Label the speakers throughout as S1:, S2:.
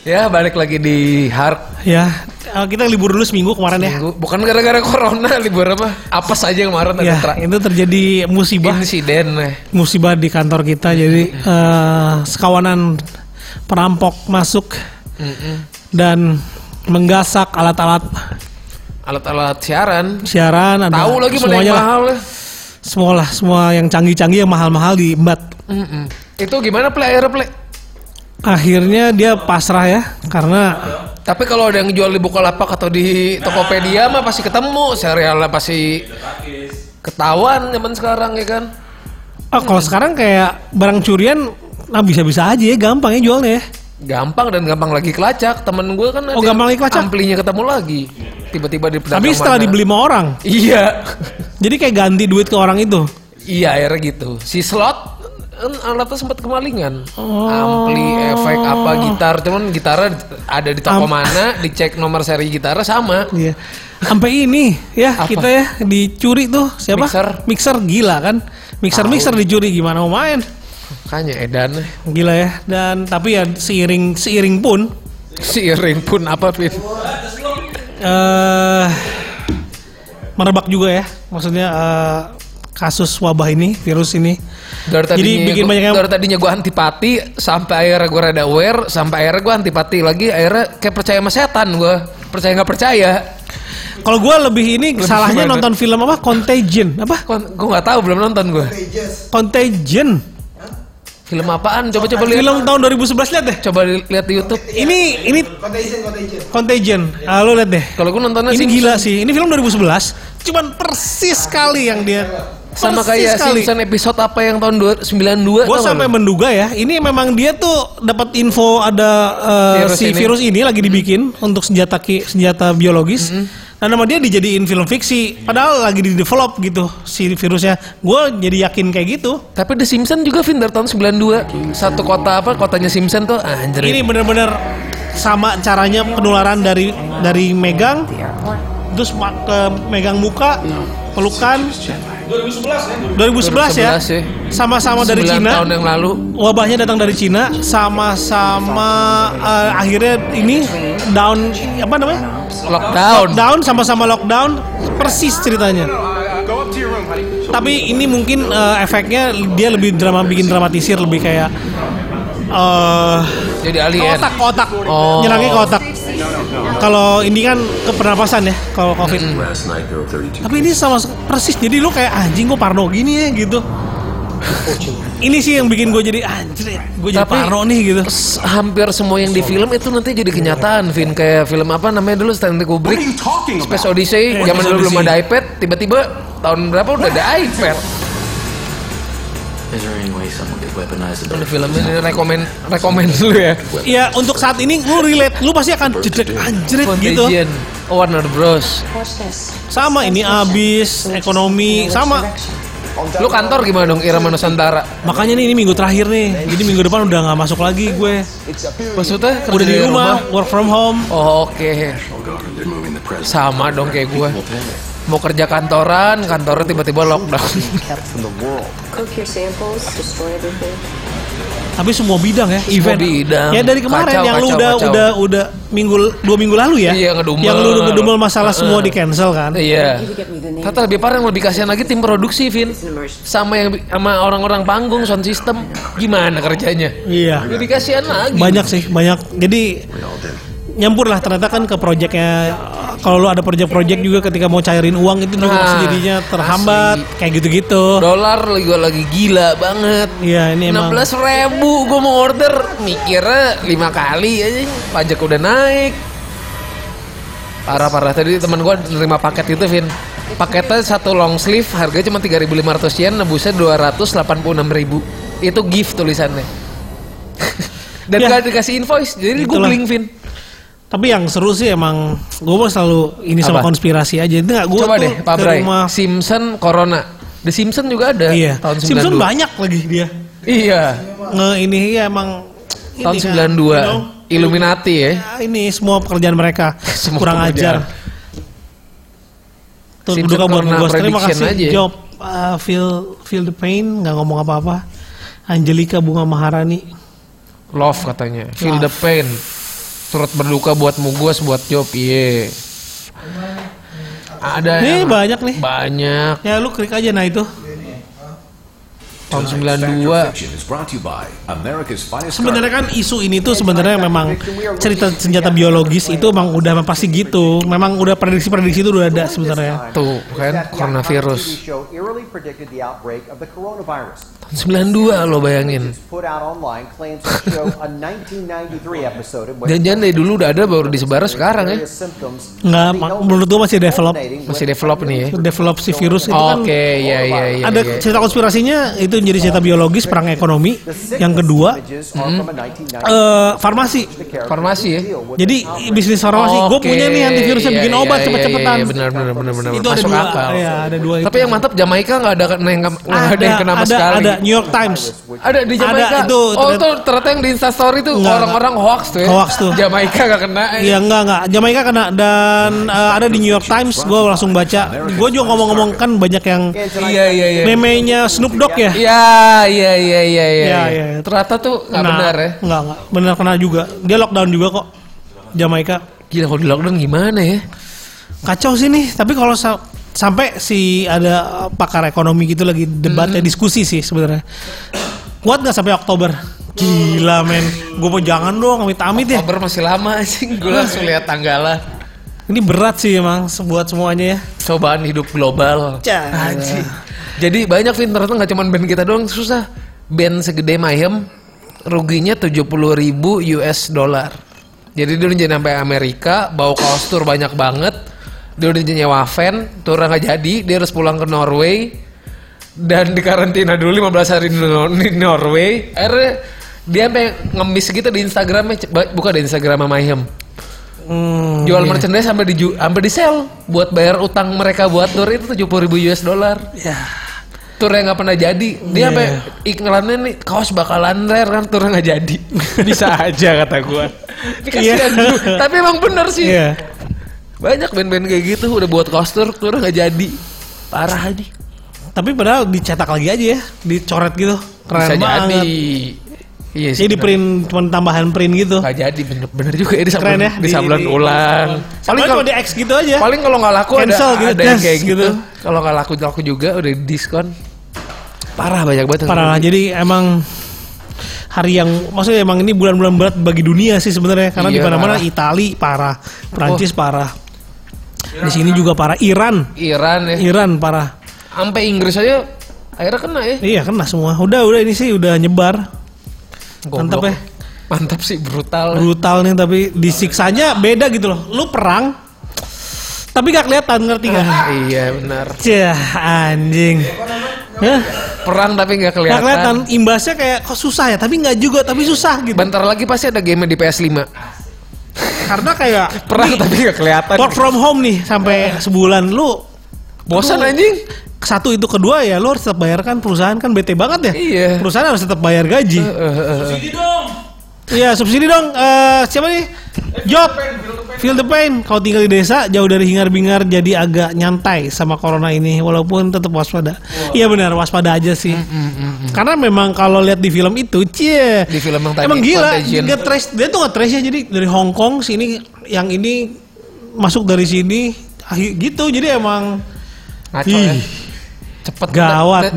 S1: Ya balik lagi di Hark
S2: Ya, eh, kita libur dulu seminggu kemarin ya.
S1: Minggu. Bukan gara-gara corona libur apa Apa saja yang kemarin ada
S2: Ya,
S1: tra-
S2: itu terjadi musibah,
S1: insiden eh.
S2: musibah di kantor kita. Jadi eh, sekawanan perampok masuk
S1: Mm-mm.
S2: dan menggasak alat-alat
S1: Alat-alat siaran
S2: siaran. Ada
S1: Tahu lagi mana yang
S2: semuanya lah.
S1: mahal eh.
S2: Semua lah, semua yang canggih-canggih, yang mahal-mahal diembat.
S1: Mm-mm. Itu gimana play akhirnya play
S2: Akhirnya dia pasrah ya, karena
S1: Tapi kalau ada yang jual di Bukalapak atau di Tokopedia mah pasti ketemu Serialnya pasti ketahuan zaman sekarang ya kan
S2: ah, kalau sekarang kayak barang curian, nah bisa-bisa aja ya, gampang ya jualnya ya.
S1: Gampang dan gampang lagi kelacak Temen gue kan
S2: Oh, gampang lagi kelacak?
S1: Amplinya ketemu lagi Tiba-tiba di pedagang
S2: Tapi setelah
S1: mana.
S2: dibeli sama orang,
S1: Iya
S2: jadi kayak ganti duit ke orang itu.
S1: Iya akhirnya gitu. Si slot kan alatnya sempat kemalingan. Ampli, efek
S2: Oh.
S1: apa gitar, cuman gitarnya ada di toko mana, dicek nomor seri gitarnya sama.
S2: Iya. Sampai ini ya
S1: Apa?
S2: kita ya dicuri tuh siapa?
S1: Mixer.
S2: gila kan. Mixer mixer dicuri gimana mau main?
S1: Makanya edan
S2: Gila ya. Dan tapi ya seiring seiring pun
S1: si Ring pun apa pin.
S2: eh merebak juga ya. Maksudnya eh, kasus wabah ini, virus ini.
S1: Dari
S2: Jadi
S1: tadinya
S2: bikin
S1: gua-
S2: banyak yang-
S1: dari tadinya gue antipati sampai akhirnya gue rada aware, sampai akhirnya gue antipati lagi, akhirnya kayak percaya sama setan gue. Percaya nggak percaya?
S2: Kalau gua lebih ini salahnya
S1: gimana?
S2: nonton film apa? Contagion apa?
S1: Gue nggak tahu belum nonton gue.
S2: Contagion.
S1: Film apaan? Coba-coba lihat.
S2: Film tahun 2011 lihat deh.
S1: Coba lihat di YouTube.
S2: Ini ini
S3: Contagion, Contagion.
S2: Contagion. Ah, lu lihat deh.
S1: Kalau gue nontonnya
S2: Ini
S1: sih
S2: gila sih. Ini film 2011. Cuman persis sekali yang dia.
S1: sama
S2: persis
S1: kayak Simpson episode apa yang tahun dua- 92
S2: Gue
S1: tau gak
S2: sampai
S1: lu?
S2: menduga ya. Ini memang dia tuh dapat info ada eh,
S1: Virus
S2: si
S1: ini. Hmm.
S2: virus ini lagi dibikin untuk senjata ki, senjata biologis. Nah, nama dia dijadiin film fiksi. Padahal lagi di develop gitu si virusnya. Gue jadi yakin kayak gitu.
S1: tapi The Simpson juga Vin dari tahun 92 satu kota apa kotanya Simpson tuh anjir
S2: Ini bener-bener sama caranya penularan dari dari megang terus ma- ke megang muka pelukan 2011 ya
S1: 2011 ya.
S2: sama-sama dari
S1: 9
S2: Cina
S1: tahun yang lalu
S2: wabahnya datang dari Cina sama-sama eh, akhirnya ini down apa namanya
S1: lockdown
S2: down sama-sama lockdown persis ceritanya tapi ini mungkin eh, efeknya dia lebih drama bikin dramatisir lebih kayak eh
S1: jadi
S2: ke
S1: alien
S2: otak ke otak
S1: Oh.
S2: nyerangnya ke otak kalau ini kan ke pernapasan ya kalau covid
S4: Last night there were 32.
S2: tapi ini sama persis jadi lu kayak anjing gua parno gini ya gitu ini sih yang bikin gue jadi anjir gue jadi
S1: Tapi-
S2: parno nih gitu
S1: S- hampir semua yang di film itu nanti jadi kenyataan Vin kayak film apa namanya dulu Stanley Kubrick Space Odyssey zaman dulu belum ada iPad tiba-tiba tahun berapa udah ada iPad
S4: Is there any way someone could weaponize the
S1: Ini film ini rekomend rekomend dulu ya
S2: ya untuk saat ini lu relate lu pasti akan jedek anjir gitu
S1: Contagion Oh, Warner Bros
S5: Watch this.
S2: sama ini abis ekonomi sama
S1: lu kantor gimana dong Irama Nusantara
S2: makanya nih ini minggu terakhir nih jadi minggu depan udah nggak masuk lagi gue
S1: maksudnya kerja
S2: udah di rumah work from home
S1: Oh, Oke,
S4: whole government? They're moving the president.
S1: sama dong kayak gue.
S4: We'll pay it.
S1: Mau kerja kantoran, kantornya tiba-tiba lockdown.
S5: Cook your samples, destroy everything.
S2: tapi semua bidang ya
S1: Semua
S2: event
S1: bidang.
S2: ya dari kemarin
S1: Kacau,
S2: yang lu
S1: kacau,
S2: udah
S1: kacau.
S2: udah udah minggu dua minggu lalu ya
S1: Iya, ngedumel. Eh.
S2: yang lu ngedumel masalah semua di cancel kan
S1: Iya.
S5: You get me the name.
S1: Kata lebih parah yang lebih kasihan lagi tim produksi, Vin.
S5: It's an emergency.
S1: Sama yang sama orang-orang panggung sound system gimana kerjanya?
S2: iya
S1: Lebih kasihan lagi.
S2: banyak sih banyak jadi nyampur lah ternyata kan ke proyeknya kalau lu ada proyek-proyek juga ketika mau cairin uang itu juga
S1: Nah,
S2: pasti jadinya terhambat kayak gitu-gitu
S1: Dolar lagi gua lagi gila banget.
S2: iya ini
S1: Enam
S2: emang
S1: belas ribu gue mau order mikirnya lima kali aja pajak udah naik parah parah tadi teman gue nerima paket itu Vin paketnya satu long sleeve harganya cuma 3.500 yen nebusnya 286.000 itu gift tulisannya dan
S2: Ya.
S1: gak dikasih invoice jadi gue
S2: Itulah.
S1: bling Vin
S2: tapi yang seru sih emang gue mau selalu ini sama
S1: Apa?
S2: konspirasi aja itu nggak gue
S1: coba
S2: tuh
S1: deh Pak
S2: ke
S1: Bray
S2: rumah-
S1: Simpson Corona The Simpson juga ada eh,
S2: iya
S1: tahun 92
S2: Simpson banyak lagi dia
S1: iya
S2: nge ini ya emang ini
S1: tahun
S2: kan,
S1: 92
S2: you know.
S1: Illuminati ya
S2: Ya, ini semua pekerjaan mereka
S1: Semua
S2: kurang
S1: pekerjaan.
S2: ajar Tuh
S1: Simpson
S2: duka buat
S1: karena
S2: gue terima
S1: prediction
S2: kasih
S1: aja. ya.
S2: Job uh, feel feel the pain nggak ngomong apa-apa Angelika Bunga Maharani
S1: Love katanya Feel the pain Turut berduka buat Mugos, buat Job, iya. Ada
S2: Nih
S1: yang-
S2: banyak nih.
S1: banyak
S2: Ya lu klik aja nah itu.
S1: tahun
S3: Factor
S1: 92.
S3: Fiction is brought to you by America's finest
S2: Sebenarnya kan isu ini tuh sebenarnya memang cerita senjata biologis itu emang udah emang pasti gitu. Memang udah prediksi-prediksi itu udah ada sebenarnya.
S1: Tuh, kan, coronavirus. Tahun 92 lo bayangin. Jangan-jangan dari dulu udah ada baru disebar sekarang ya.
S2: Nggak, ma- menurut gua masih develop.
S1: Masih develop nih ya.
S2: Develop si virus itu kan
S1: Oke, ya ya ya.
S2: ada
S1: ya.
S2: cerita konspirasinya itu menjadi cerita biologis perang ekonomi. Yang kedua eh, farmasi.
S1: Mm-hmm. farmasi ya.
S2: Jadi bisnis farmasi. Gue
S1: Oke,
S2: punya nih antivirusnya
S1: iya,
S2: bikin
S1: iya,
S2: obat
S1: iya,
S2: cepet-cepetan.
S1: iya, benar benar benar benar.
S2: Itu ada
S1: Masuk
S2: dua.
S1: akal.
S2: Ya, ada dua itu.
S1: Tapi yang mantap Jamaika nggak ada kena yang nggak ada yang kena sama
S2: ada,
S1: sekali.
S2: ada New York Times.
S1: Ada di Jamaika.
S2: Ada, itu
S1: oh
S2: ternyata-
S1: itu ternyata yang di Instastory tuh
S2: Nggak,
S1: orang-orang hoax tuh. Ya.
S2: Hoax tuh.
S1: Jamaika nggak kena.
S2: Iya enggak enggak Jamaika kena dan eh, ada di New York Times gue langsung baca gue juga ngomong-ngomong kan banyak yang
S1: iya iya iya.
S2: memenya Snoop Dogg ya
S1: Iya iya iya iya iya.
S2: Iya,
S1: iya.
S2: iya. Nah.
S1: Ternyata tuh nggak benar ya.
S2: enggak enggak benar kena juga dia lockdown juga kok Jamaika
S1: Gila kalau di lockdown gimana ya?
S2: kacau sih nih tapi kalau sa- sampai si ada eh, pakar ekonomi gitu lagi
S1: Hmm.
S2: debatnya diskusi sih sebenarnya kuat nggak sampai Oktober gila men gue mau jangan dong amit-amit ya
S1: Oktober masih lama sih. Gue langsung lihat tanggalan.
S2: ini berat sih emang se- buat semuanya ya
S1: Cobaan hidup global.
S2: Cah.
S1: Anjing. Jadi banyak Vin ternyata nggak cuma band kita doang susah. Band segede Mayhem ruginya 70.000 ribu US dollar. Jadi dia udah jadi sampai Amerika, bawa kaos tour banyak banget. Dia udah nyewa van, tournya nggak jadi, dia harus pulang ke Norway dan dikarantina dulu 15 hari di, Nor- di Norway. Akhirnya dia sampai ngemis gitu di Instagramnya, c- ba- buka di Instagram Mayhem.
S2: Hmm,
S1: Jual merchandise sampai di sampai di sell buat bayar utang mereka buat tour itu 70.000 ribu US dollar
S2: ya
S1: tour yang nggak pernah jadi dia
S2: Iya.
S1: sampai iklannya nih kaos bakalan rare kan tour nggak jadi bisa aja kata gua Ini kasihan
S2: Iya.
S1: juga. tapi emang bener sih
S2: Iya.
S1: banyak band-band kayak gitu udah buat kaos tour tour nggak jadi parah nih
S2: Tapi padahal dicetak lagi aja ya, dicoret gitu. Keren
S1: bisa
S2: banget.
S1: jadi iya sih
S2: Jadi di print cuman tambahan print gitu.
S1: nggak jadi bener-bener juga ya
S2: Keren
S1: disablon
S2: ya. di-
S1: disablon
S2: di-
S1: ulang
S2: Paling
S1: kalau-
S2: cuma di X gitu aja.
S1: Paling kalau nggak laku
S2: Cancel
S1: ada,
S2: gitu,
S1: ada yang
S2: yes,
S1: kayak gitu.
S2: gitu.
S1: Kalau nggak laku laku juga udah di diskon. Parah banyak banget. yang
S2: Parah lah.
S1: rugi.
S2: Jadi emang hari yang maksudnya emang ini bulan-bulan berat bagi dunia sih sebenarnya karena
S1: Iya, Oh.
S2: di mana-mana
S1: parah.
S2: Itali parah, Prancis parah. Di sini juga parah, Iran,
S1: Iran ya.
S2: Iran parah.
S1: Sampai Inggris aja akhirnya kena ya.
S2: Iya kena semua. Udah udah ini sih udah nyebar.
S1: Goblok.
S2: Mantap ya.
S1: Mantap sih brutal.
S2: brutal nih tapi disiksanya beda gitu loh lu perang tapi gak kelihatan ngerti gak
S1: iya benar.
S2: Cih, anjing Hah?
S1: Perang tapi nggak
S2: Gak
S1: kelihatan.
S2: kelihatan imbasnya kayak kok susah ya tapi nggak juga tapi susah gitu
S1: Bentar lagi pasti ada game di PS5.
S2: karena kayak
S1: Perang tapi nggak kelihatan.
S2: work from home nih sampai sebulan lu
S1: Bosan
S2: aduh,
S1: anjing.
S2: satu itu kedua ya lu harus tetap bayarkan perusahaan kan bete banget ya
S1: Iya. Eh,
S2: perusahaan harus tetap bayar gaji Iya subsidi dong. Eh siapa nih? Job. Feel the pain. Kau tinggal di desa jauh dari hingar-bingar jadi agak nyantai sama corona ini walaupun tetap waspada. Iya benar waspada aja sih.
S1: Mm,
S2: Karena memang kalau lihat di film itu, cie.
S1: Di film yang tadi,
S2: Emang gila.
S1: Contagion.
S2: Dia trash, dia tuh nggak trash ya. Jadi dari Hong Kong sini yang ini masuk dari sini ah, gitu. Jadi emang
S1: Ngaco
S2: Ih.
S1: ya. Cepet
S2: Gawat,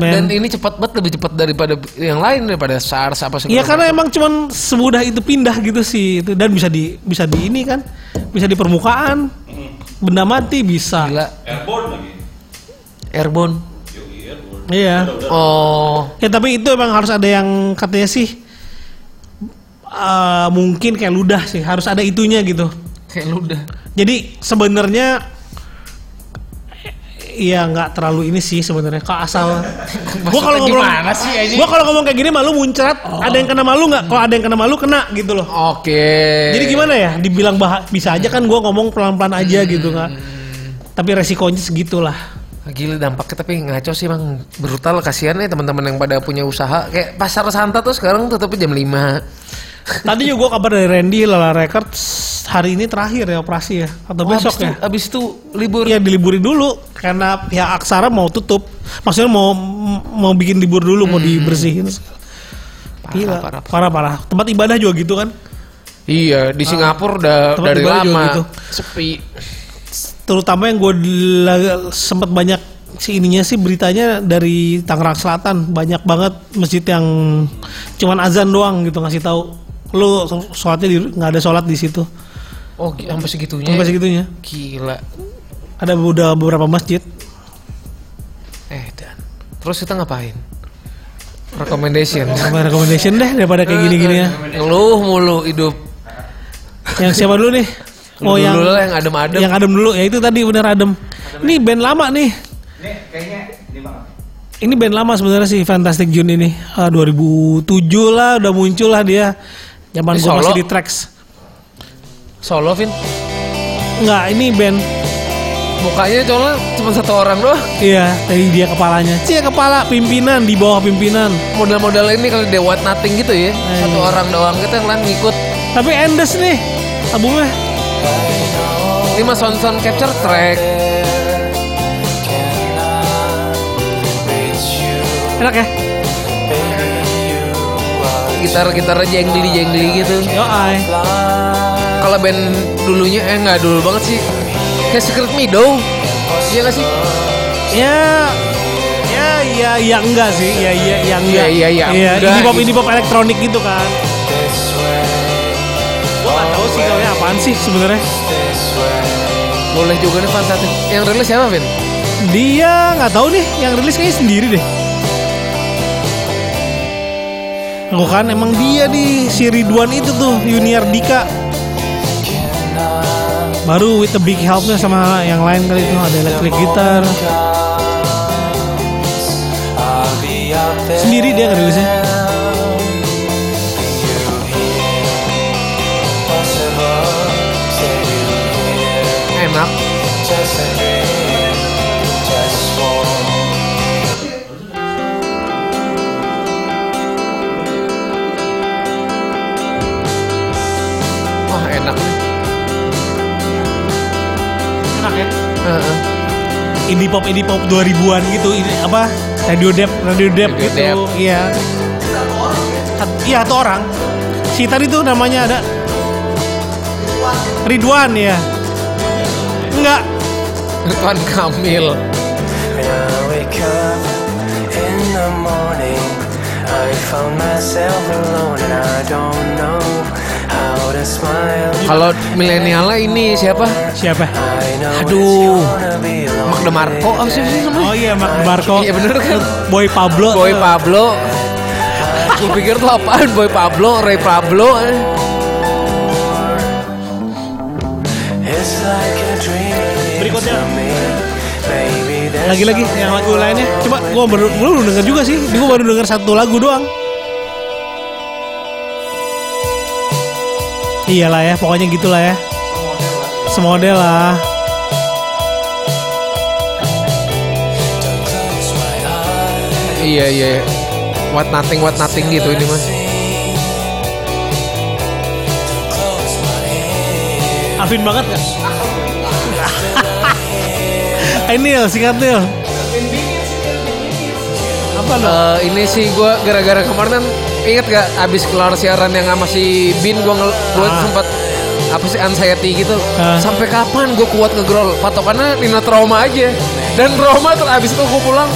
S1: dan, dan
S2: men.
S1: ini cepet banget lebih cepet daripada yang lain daripada SARS apa segala
S2: Iya karena emang cuman semudah itu pindah gitu sih itu dan bisa di bisa di ini kan bisa di permukaan benda mati bisa
S1: Gila. Airborne lagi.
S2: iya
S1: Airborne. Oh.
S2: ya tapi itu emang harus ada yang katanya sih eh, mungkin kayak ludah sih harus ada itunya gitu
S1: Kayak lu udah.
S2: jadi sebenarnya Iya nggak terlalu ini sih sebenarnya kok asal gua kalau ngomong
S1: gimana sih, anjing? Oh.
S2: gua kalau ngomong kayak gini malu muncrat ada yang kena malu nggak kalau ada yang kena malu kena gitu loh
S1: Oke. Hmm.
S2: Jadi gimana ya? Dibilang bah bisa aja kan gue ngomong pelan-pelan aja gitu nggak. Tapi resikonya segitulah.
S1: Ah, Gila dampaknya tapi ngaco sih emang brutal kasihan ya teman-teman yang pada punya usaha kayak pasar Santa tuh sekarang tutupnya jam 5.
S2: Tadi juga gue kabar dari Randy Lala Records hari ini terakhir ya operasi ya atau
S1: Wah, abis
S2: besok
S1: Oh, itu,
S2: ya.
S1: abis itu libur.
S2: Ya diliburin dulu karena pihak Aksara mau tutup. Maksudnya mau mau bikin libur dulu mau dibersihin.
S1: Parah,
S2: Gila,
S1: Hmm. parah.
S2: parah parah. Tempat ibadah juga gitu kan.
S1: Iya, di Singapura udah
S2: Tempat
S1: dari
S2: di Bali juga
S1: lama
S2: gitu.
S1: sepi.
S2: terutama yang gue sempat banyak si ininya sih beritanya dari Tangerang Selatan banyak banget masjid yang cuman azan doang gitu ngasih tahu lu sholatnya di- nggak ada sholat di situ
S1: Oh, gi- sampai segitunya.
S2: sampai segitunya
S1: Gila.
S2: ada udah beberapa masjid
S1: Eh, dan. Terus kita ngapain? Recommendation.
S2: sama recommendation deh daripada kayak gini-gini ya
S1: Ngeluh mulu hidup.
S2: yang siapa dulu nih
S1: Lu
S2: oh
S1: dulu
S2: yang
S1: lah yang adem-adem.
S2: yang adem dulu ya itu tadi bener adem ini band lama nih ini band lama sebenarnya sih Fantastic June ini Ah, 2007 lah udah muncul lah dia zaman
S1: Ini
S2: gua
S1: solo?
S2: masih di tracks
S1: Solo, Vin.
S2: Enggak, ini band
S1: Mukanya cuma cuma satu orang doang.
S2: iya dari dia kepalanya cie kepala pimpinan di bawah pimpinan
S1: Model-model ini kalau The What Nothing gitu ya.
S2: Hmm.
S1: Satu orang doang kita yang lain ngikut.
S2: tapi Endes nih albumnya
S1: Ini mah sound sound capture track.
S2: enak ya
S1: Gitar-gitar jengli-jengli gitu.
S2: yo ay
S1: Kalau band dulunya eh nggak dulu banget sih. Kayak Secret Meadow. Iya nggak sih?
S2: ya ya ya ya enggak sih ya ya ya enggak
S1: Iya, iya, iya, enggak.
S2: ini pop ini pop elektronik gitu kan gua nggak tahu sih kalau apaan sih sebenarnya
S1: Boleh juga nih fantastik. Yang rilis siapa, Vin?
S2: dia nggak tahu nih yang rilis kayaknya sendiri deh Aku kan emang dia di si Ridwan itu tuh Junior Dika baru with the big helpnya sama yang lain kali itu ada electric guitar sendiri dia ngerilisnya
S1: Enak. Wah, enak nih.
S2: enak ya
S1: Heeh.
S2: indie pop indie pop 2000-an gitu ini apa radio dep radio dep
S1: Radio
S2: gitu
S1: Dep.
S2: iya Sat- iya satu orang si tadi tuh namanya ada Ridwan ya enggak
S1: Ridwan Kamil.
S6: When I wake up in the morning, I found myself alone and I don't know how to smile.
S1: Kalau milenialnya ini siapa?
S2: siapa
S6: I know
S1: Aduh.
S6: it's gonna be a
S1: Mak
S6: long
S1: DeMarco. Oh, siapa sih namanya?
S2: oh iya Mark Barco
S1: Iya bener kan?
S2: Boy Pablo Eh,
S1: Boy Pablo. Gue pikir tuh apaan Boy Pablo, Ray Pablo.
S6: It's like a dream
S2: Berikutnya.
S6: to me. Baby, there's
S2: lagi-lagi yang lagu lainnya coba gua baru gua belum denger juga sih gua baru denger satu lagu doang iyalah ya pokoknya gitulah ya semodel lah
S1: Iya iya. iya. What nothing, what nothing gitu ini mah.
S2: Afin banget gak? Eh Nil, singkat Nil Apa lo?
S1: Eh, ini sih gue gara-gara kemarin kan inget gak abis kelar siaran yang sama si Bin gue ngel- gua
S2: Ah.
S1: sempat apa sih anxiety gitu
S2: Ah.
S1: sampai kapan gue kuat ngegrol patokannya Nino trauma aja dan trauma ter abis itu gue pulang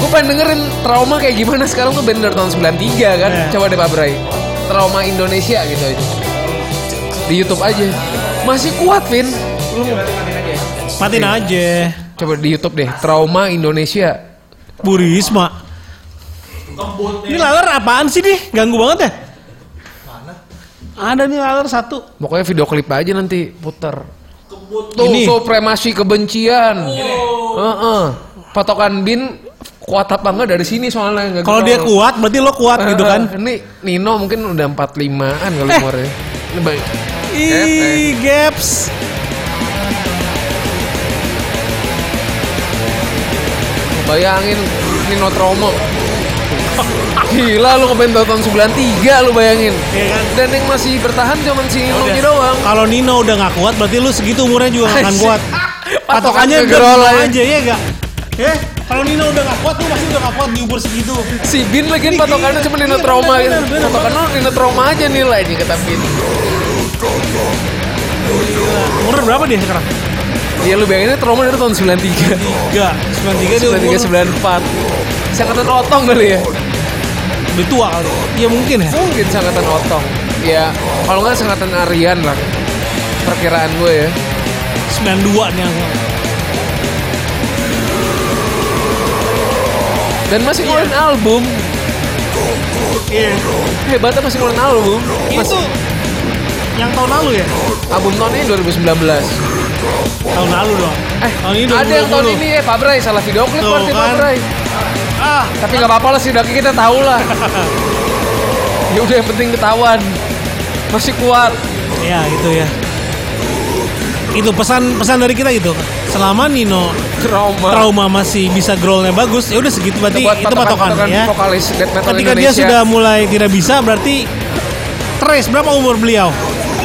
S1: gue pengen dengerin trauma kayak gimana sekarang tuh band dari tahun 93 kan
S2: Iya.
S1: coba deh Pak Bray trauma Indonesia gitu aja di YouTube aja masih kuat Vin
S2: Matiin aja
S1: coba di YouTube deh trauma Indonesia
S2: Bu Risma Ini laler apaan sih nih? Ganggu banget ya? Ada nih laler satu
S1: Pokoknya video klip aja nanti puter. Tuh,
S2: Ini. Oh.
S1: supremasi kebencian. Heeh. Patokan bin kuat apa enggak dari sini soalnya. nggak
S2: Kalau
S1: gitu.
S2: dia kuat berarti lo kuat gitu kan
S1: Ini Nino mungkin udah 45-an kali
S2: Eh.
S1: umurnya. Ini baik.
S2: Ih, gaps
S1: Bayangin Nino Tromo. Gila lu ngeband tahun 93 lu bayangin.
S2: Iya kan? Ya
S1: Dan yang masih bertahan cuman si Nino
S2: Udah.
S1: doang.
S2: Kalau Nino udah gak kuat berarti lu segitu umurnya juga gak akan
S1: Asik.
S2: kuat.
S1: Patokan
S2: Patokannya udah
S1: ngegrol
S2: bilang
S1: aja.
S2: aja ya gak? Eh, Kalau Nino udah gak kuat, lu pasti udah gak kuat di umur segitu.
S1: Si Bin lagi patokannya cuma Nino Trauma gitu.
S2: Iya, bener, bener,
S1: Patokan lu Nino Trauma aja nilainya kata Bin.
S2: Umur berapa dia sekarang?
S1: Ya lu bayangin Trauma dari tahun 93.
S2: 3, 93 dia umur
S1: 93 94. Sangkatan otong kali ya.
S2: udah tua kali. Iya mungkin ya.
S1: Mungkin sangkatan otong. Ya, kalau nggak sangkatan Aryan lah. Perkiraan gue ya.
S2: 92 nih aku.
S1: Dan masih ngeluarin album.
S2: Iya.
S1: Hebatnya masih ngeluarin album. Mas,
S2: Itu yang tahun lalu ya?
S1: album tahun ini 2019.
S2: Tahun lalu dong.
S1: Eh,
S2: tahun ini
S1: ada yang tahun
S2: 2020.
S1: ini eh Pak Bray salah video klip
S2: Tuh,
S1: berarti Pak
S2: kan.
S1: Bray.
S2: Ah,
S1: Tapi nggak apa-apa lah setidaknya kita tahu lah. ya udah yang penting ketahuan. Masih kuat.
S2: ya gitu ya. Itu pesan pesan dari kita gitu. Selama Nino
S1: Trauma.
S2: trauma masih bisa growlnya bagus, ya udah segitu berarti
S1: Buat
S2: itu patokan ya.
S1: vokalis death metal
S2: Ketika dia
S1: Indonesia.
S2: sudah mulai tidak bisa berarti Trace berapa umur beliau?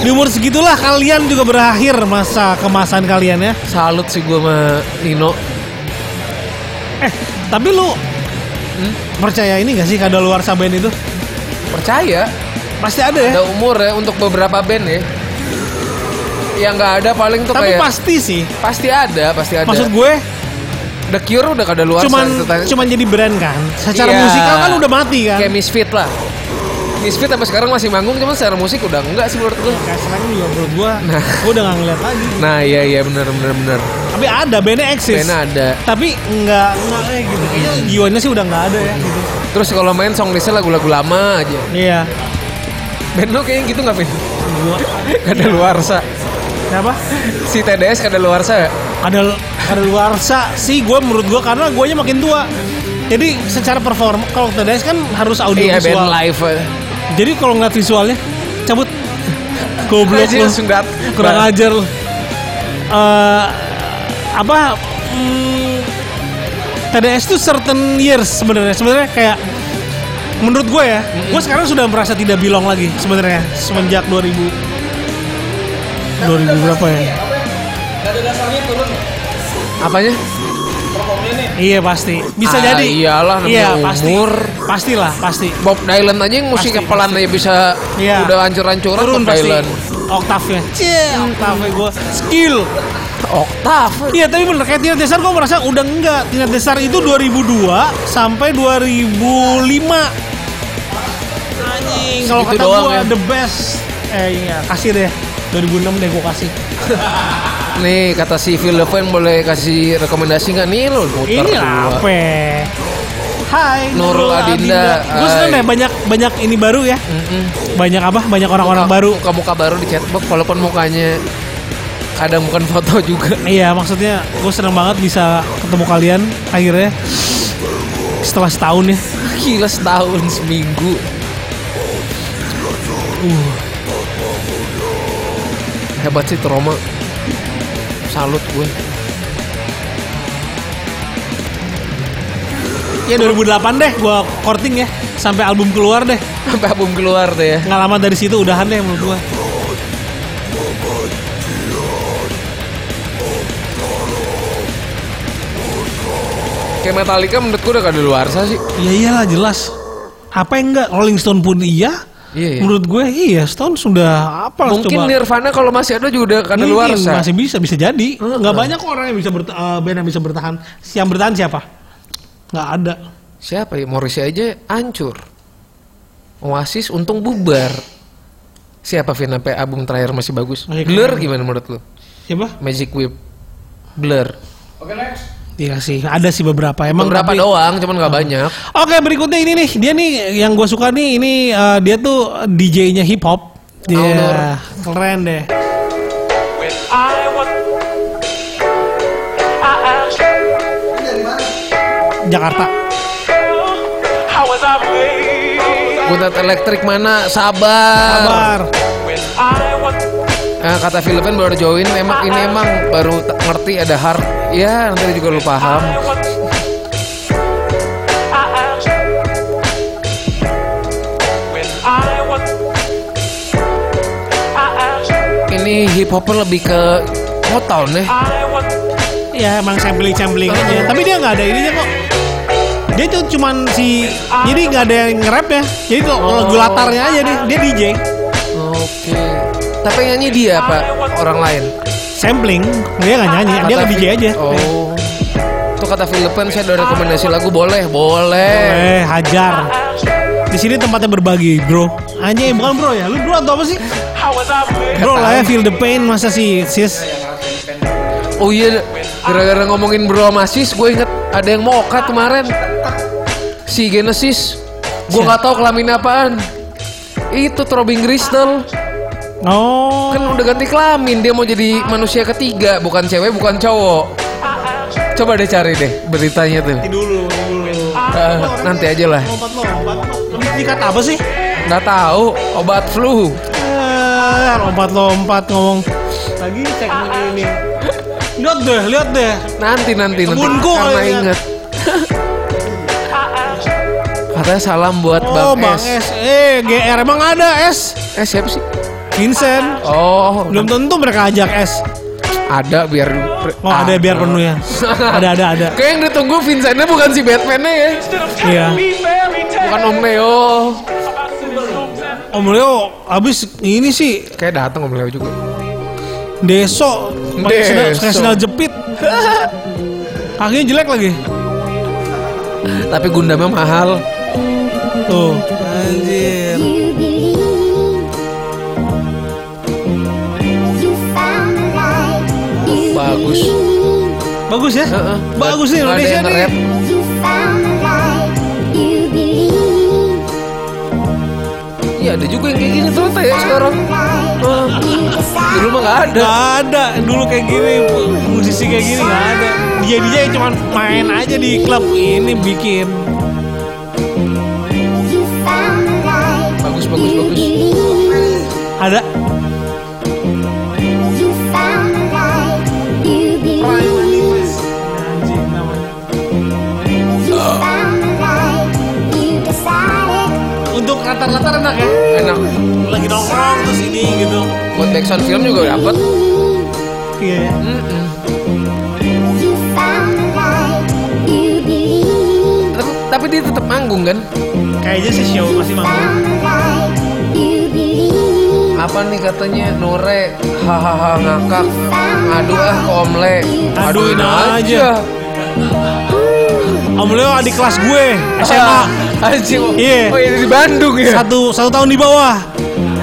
S2: Di umur segitulah kalian juga berakhir masa kemasan kalian ya.
S1: salut sih gue sama Nino.
S2: Eh, tapi lu percaya ini gak sih kada luar band itu?
S1: Percaya
S2: Pasti ada ya.
S1: ada umur ya untuk beberapa band ya. Yang nggak ada paling tuh kayak
S2: tapi pasti sih.
S1: pasti ada, pasti ada.
S2: Maksud gue
S1: The Cure udah kada luar
S2: cuman
S1: sana, tentang-
S2: cuman jadi brand kan. Secara
S1: Iya.
S2: musikal kan udah mati kan.
S1: kayak Misfit lah. Misfit sampai sekarang masih manggung cuman secara musik udah enggak sih menurut gue.
S2: Kayak sekarang juga menurut gue,
S1: Nah.
S2: gue udah gak ngeliat lagi.
S1: Nah iya iya benar benar benar.
S2: Tapi ada bandnya eksis.
S1: Pena ada.
S2: Tapi nggak nggak kayak gitu. Kayaknya jiwanya sih udah nggak ada ya. Gitu.
S1: Terus kalau main song listnya lagu-lagu lama aja.
S2: Iya.
S1: Band lu kayaknya gitu nggak Ben?
S2: Gua,
S1: Kada
S2: Iya.
S1: luarsa.
S2: kenapa?
S1: Si TDS kada luarsa ya?
S2: Ada ada luarsa sih gue menurut gue karena guanya makin tua. Jadi secara perform kalau TDS kan harus audio
S1: Iya band
S2: visual.
S1: live.
S2: Jadi kalau ngeliat visualnya cabut. Goblok
S1: Aja
S2: lu.
S1: langsung dat.
S2: Kurang
S1: Ba-
S2: ajar lu. Eh, apa mm, TDS tuh certain years sebenarnya. Sebenarnya kayak menurut gue ya, gue sekarang sudah merasa tidak belong lagi sebenarnya semenjak 2000 2000 berapa ya?
S1: Apanya?
S2: Iya pasti. Bisa
S1: Ah,
S2: jadi.
S1: iyalah, namanya
S2: Iya, pasti.
S1: umur.
S2: Pastilah, pasti.
S1: Bob Dylan aja yang musiknya
S2: Pasti,
S1: pelan aja bisa
S2: Iya.
S1: udah hancur-hancuran
S2: Turun
S1: Bob
S2: pasti.
S1: Dylan.
S2: Oktavnya. Cie, oktavnya gue skill.
S1: Oktav.
S2: Iya tapi bener kayak Tina Desar gue merasa udah enggak Tina Desar itu 2002 sampai 2005 Anjing Kalau
S1: Segitu
S2: kata
S1: doang
S2: gue
S1: ya.
S2: the best Eh iya kasih deh 2006 deh gue kasih
S1: Nih kata si Phil Levine boleh kasih rekomendasi nggak nih lo? Putar
S2: Ini
S1: dua.
S2: Iya, apa Hai
S1: Nurul Adinda.
S2: Gue seneng
S1: Hai.
S2: deh banyak, banyak ini baru ya Banyak apa banyak orang-orang
S1: Muka-
S2: baru
S1: Muka-muka baru di chatbox walaupun mukanya kadang bukan foto juga.
S2: Iya maksudnya gue seneng banget bisa ketemu kalian akhirnya Setelah setahun ya
S1: Gila setahun seminggu. Uh. Hebat sih trauma. Salut gue.
S2: Ya 2008 deh gua korting ya sampai album keluar deh.
S1: Sampai album keluar tuh ya.
S2: Nggak lama dari situ udahan deh menurut gua.
S1: Kayak Metallica menurut gue udah kada luar sih.
S2: Ya iyalah jelas. Apa yang enggak Rolling Stone pun iya.
S1: Iya, iya.
S2: Menurut gue iya Stone sudah apa lah,
S1: Mungkin
S2: coba.
S1: Nirvana kalau masih ada juga udah kada
S2: Mungkin
S1: luar
S2: masih bisa bisa jadi. Nggak banyak kok orang yang bisa berta- eh, band yang bisa bertahan. Yang bertahan siapa? Nggak ada.
S1: Siapa ya? Morrissey aja hancur. Oasis untung bubar. Siapa Vin sampai album terakhir masih bagus?
S2: Oke,
S1: Blur
S2: keren.
S1: gimana menurut lu?
S2: Siapa?
S1: Magic Whip. Blur.
S2: Iya sih, ada sih beberapa. Emang
S1: Beberapa
S2: tapi-
S1: doang, cuman nggak banyak.
S2: Oke berikutnya ini nih dia nih yang gue suka nih ini eh, dia tuh DJ-nya hip hop. Iya,
S1: Outdoor.
S2: keren deh. Jakarta.
S1: Butet elektrik mana? Sabar.
S2: Kabar.
S1: Eh, kata Philippine baru join. Emang ini emang baru t- ngerti ada hard. Ya nanti juga lu paham. Ini hip hopnya lebih ke Motown nih.
S2: Iya,
S1: Oh.
S2: Ya emang sampling sampling aja. Tapi dia nggak ada ininya kok. Dia tuh cuman si jadi nggak ada yang nge-rap ya. Jadi tuh
S1: Oh.
S2: lagu latarnya aja nih. Dia DJ
S1: Oke. Tapi yang nyanyi dia apa orang lain?
S2: sampling. Dia nggak nyanyi, dia nge DJ aja.
S1: Oh. Itu kata Philippine saya ada rekomendasi lagu boleh, boleh.
S2: Eh, hajar. Di sini tempatnya berbagi, bro. Anjing, bukan bro ya. Lu bro atau apa sih? Bro lah ya, feel the pain masa sih, sis?
S1: Oh iya, gara-gara ngomongin bro sama Sis, gue inget ada yang moka kemarin. Si Genesis. Gue nggak tahu kelamin apaan. Itu Throbbing Crystal.
S2: Oh,
S1: Kan udah ganti kelamin, dia mau jadi manusia ketiga, bukan cewek, bukan cowok. Coba deh cari deh beritanya tuh.
S2: dulu.
S1: Eh, nanti aja lah.
S2: Dikat apa sih?
S1: Nggak tahu obat flu.
S2: Eh, lompat-lompat ngomong. Lagi cek ini ini. Lihat deh, lihat deh.
S1: Nanti nanti nanti
S2: Kebunku
S1: karena
S2: kayaknya.
S1: inget. Katanya salam buat
S2: Oh,
S1: Bang,
S2: Bang
S1: S.
S2: S. Eh, GR emang ada S.
S1: Eh siapa sih?
S2: Vincent.
S1: Oh,
S2: Belum tentu mereka ajak S.
S1: ada biar
S2: Oh, ada biar penuh ya. Ada ada ada.
S1: Kayak yang ditunggu Vincentnya bukan si Batman-nya ya.
S2: Iya.
S1: Bukan Om Leo.
S2: Om Leo abis ini sih
S1: Kayak datang Om Leo juga.
S2: Deso pakai sendal,
S1: Deso.
S2: pakai sendal jepit. Kakinya jelek lagi.
S1: Tapi Gundamnya mahal.
S2: Tuh. Anjir.
S7: You believe you found the light. You
S1: Bagus.
S7: believe
S2: Bagus ya?
S1: Heeh.
S2: Bagus nih
S1: Nggak ada
S2: Indonesia
S1: yang
S2: nih.
S1: nge-rap.
S7: you found the light. You believe
S1: Iya ada juga yang kayak gini ternyata ya sekarang.
S7: the light.
S1: Ah,
S7: You
S1: dulu
S7: decide
S1: mah nggak ada.
S2: Gak ada dulu kayak gini musisi kayak gini gak ada. Dia dia cuma main aja di klub ini bikin.
S7: you found the light.
S1: Bagus bagus
S7: You
S1: bagus.
S7: believe
S2: Ada
S7: you found the light. You believe you found the light. You decided.
S2: untuk latar-latar enak ya.
S1: Enak.
S2: Lagi nongkrong terus ini gitu.
S1: Buat backsound film juga dapat.
S2: Iya. ya.
S7: You found the light. You believe.
S1: Tapi, tapi dia tetap manggung kan?
S2: Kayaknya sih show masih manggung.
S7: found the light. You believe.
S1: Apa nih katanya Nore? Hahaha ngakak. Ngadu ah ke Om Le.
S2: Aduin aja. Om Leo adik kelas gue
S1: Ah,
S2: SMA.
S1: anjing.
S2: Iya.
S1: Oh, ini di Bandung ya.
S2: satu satu tahun di bawah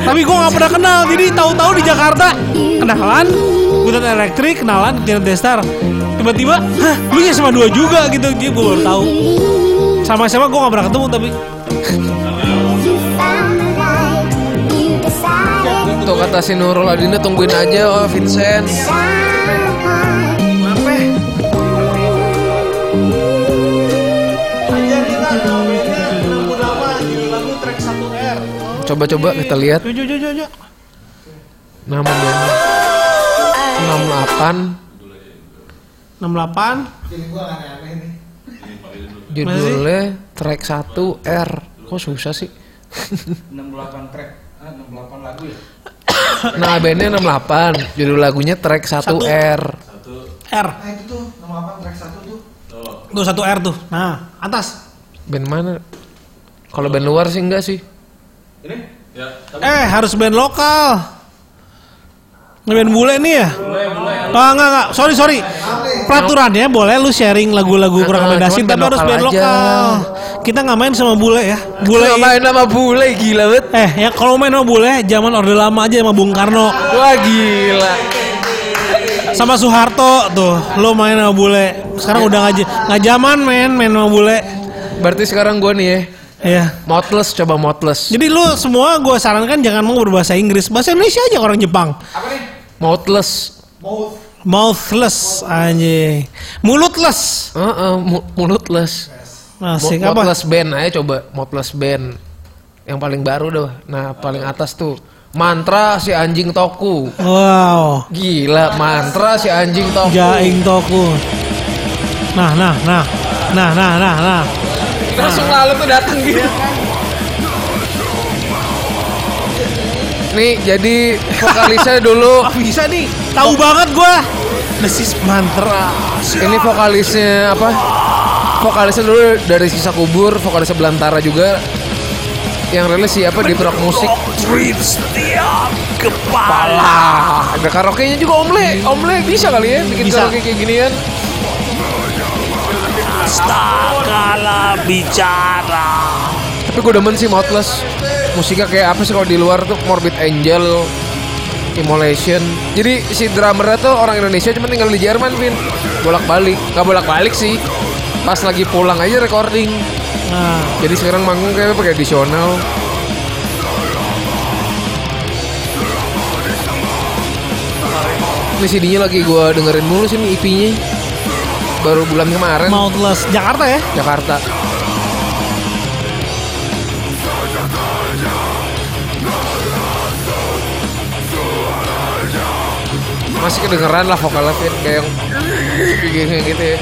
S2: tapi gue nggak pernah kenal jadi tahu-tahu di Jakarta kenalan Butet Elektrik kenalan Tiran Destar tiba-tiba hah lu ya sama dua juga gitu jadi gue baru tahu sama-sama gue nggak pernah ketemu tapi
S7: Found the light. You decided.
S1: Tuh kata si Nurul Adinda tungguin aja oh Vincent.
S7: Found the light.
S1: Coba-coba kita lihat
S2: Yo, yo, yo, yo, yo.
S1: nama bandnya.
S2: 68
S1: 68 judulnya track 1 R. Kok susah sih? 68 track. 68 lagu ya? Nah, bandnya 68. Judul lagunya track 1
S2: Satu.
S1: R.
S2: R itu tuh 68 track 1 tuh tuh satu R tuh nah atas
S1: Band mana? Kalau band luar sih enggak sih.
S2: eh harus band lokal Ngeband bule nih ya? Ah, enggak, enggak. Sorry, sorry. Peraturannya boleh lu sharing lagu-lagu
S1: Ah,
S2: rekomendasi,
S1: cuman
S2: tapi
S1: band
S2: harus
S1: lokal
S2: band
S1: aja.
S2: lokal. Kita nggak main sama bule ya. Bule.
S1: Nggak main nama bule gila banget.
S2: Eh, ya kalau main sama bule, zaman orde lama aja sama Bung Karno,
S1: Wah gila.
S2: sama Soeharto tuh. Lu main sama bule. Sekarang udah aja nggak zaman main main sama bule.
S1: Berarti sekarang gua nih ya.
S2: Ya.
S1: Motless coba Motless.
S2: Jadi lu semua gue sarankan jangan mau berbahasa Inggris, bahasa Indonesia aja orang Jepang.
S1: Motless.
S2: Mouthless anjing. Mulutless.
S1: Heeh, mu- mulutless.
S2: Asik
S1: Mo-
S2: Nah, apa?
S1: Motless Band aja coba Motless Band yang paling baru dah nah paling atas tuh mantra si anjing toku
S2: Wow.
S1: gila mantra si anjing toku
S2: Jaing Toku. Nah, nah, nah. Nah, nah, nah, nah.
S1: langsung lalu tuh datang gitu nih jadi vokalisnya dulu
S2: Bisa nih.
S1: Oh.
S2: Tahu banget gua. This is mantra.
S1: ini vokalisnya apa vokalisnya dulu dari sisa kubur, vokalisnya Belantara juga yang rilis siapa di rock musik kepala ada karaoke nya juga omle omle bisa kali ya bikin
S2: Bisa.
S1: karaoke kayak ginian
S8: Takala bicara.
S1: tapi gue demen sih Motless musiknya kayak apa sih kalau di luar tuh Morbid Angel Immolation jadi si drummernya tuh orang Indonesia cuma tinggal di Jerman Vin bolak balik nggak bolak balik sih pas lagi pulang aja recording
S2: Nah,
S1: jadi sekarang manggung kayak pakai additional ini CD-nya lagi gue dengerin mulu sih nih EP-nya baru bulan kemarin
S2: Mouthless Jakarta ya.
S1: Jakarta masih kedengeran lah vokalnya Fit kayak yang kayak gitu ya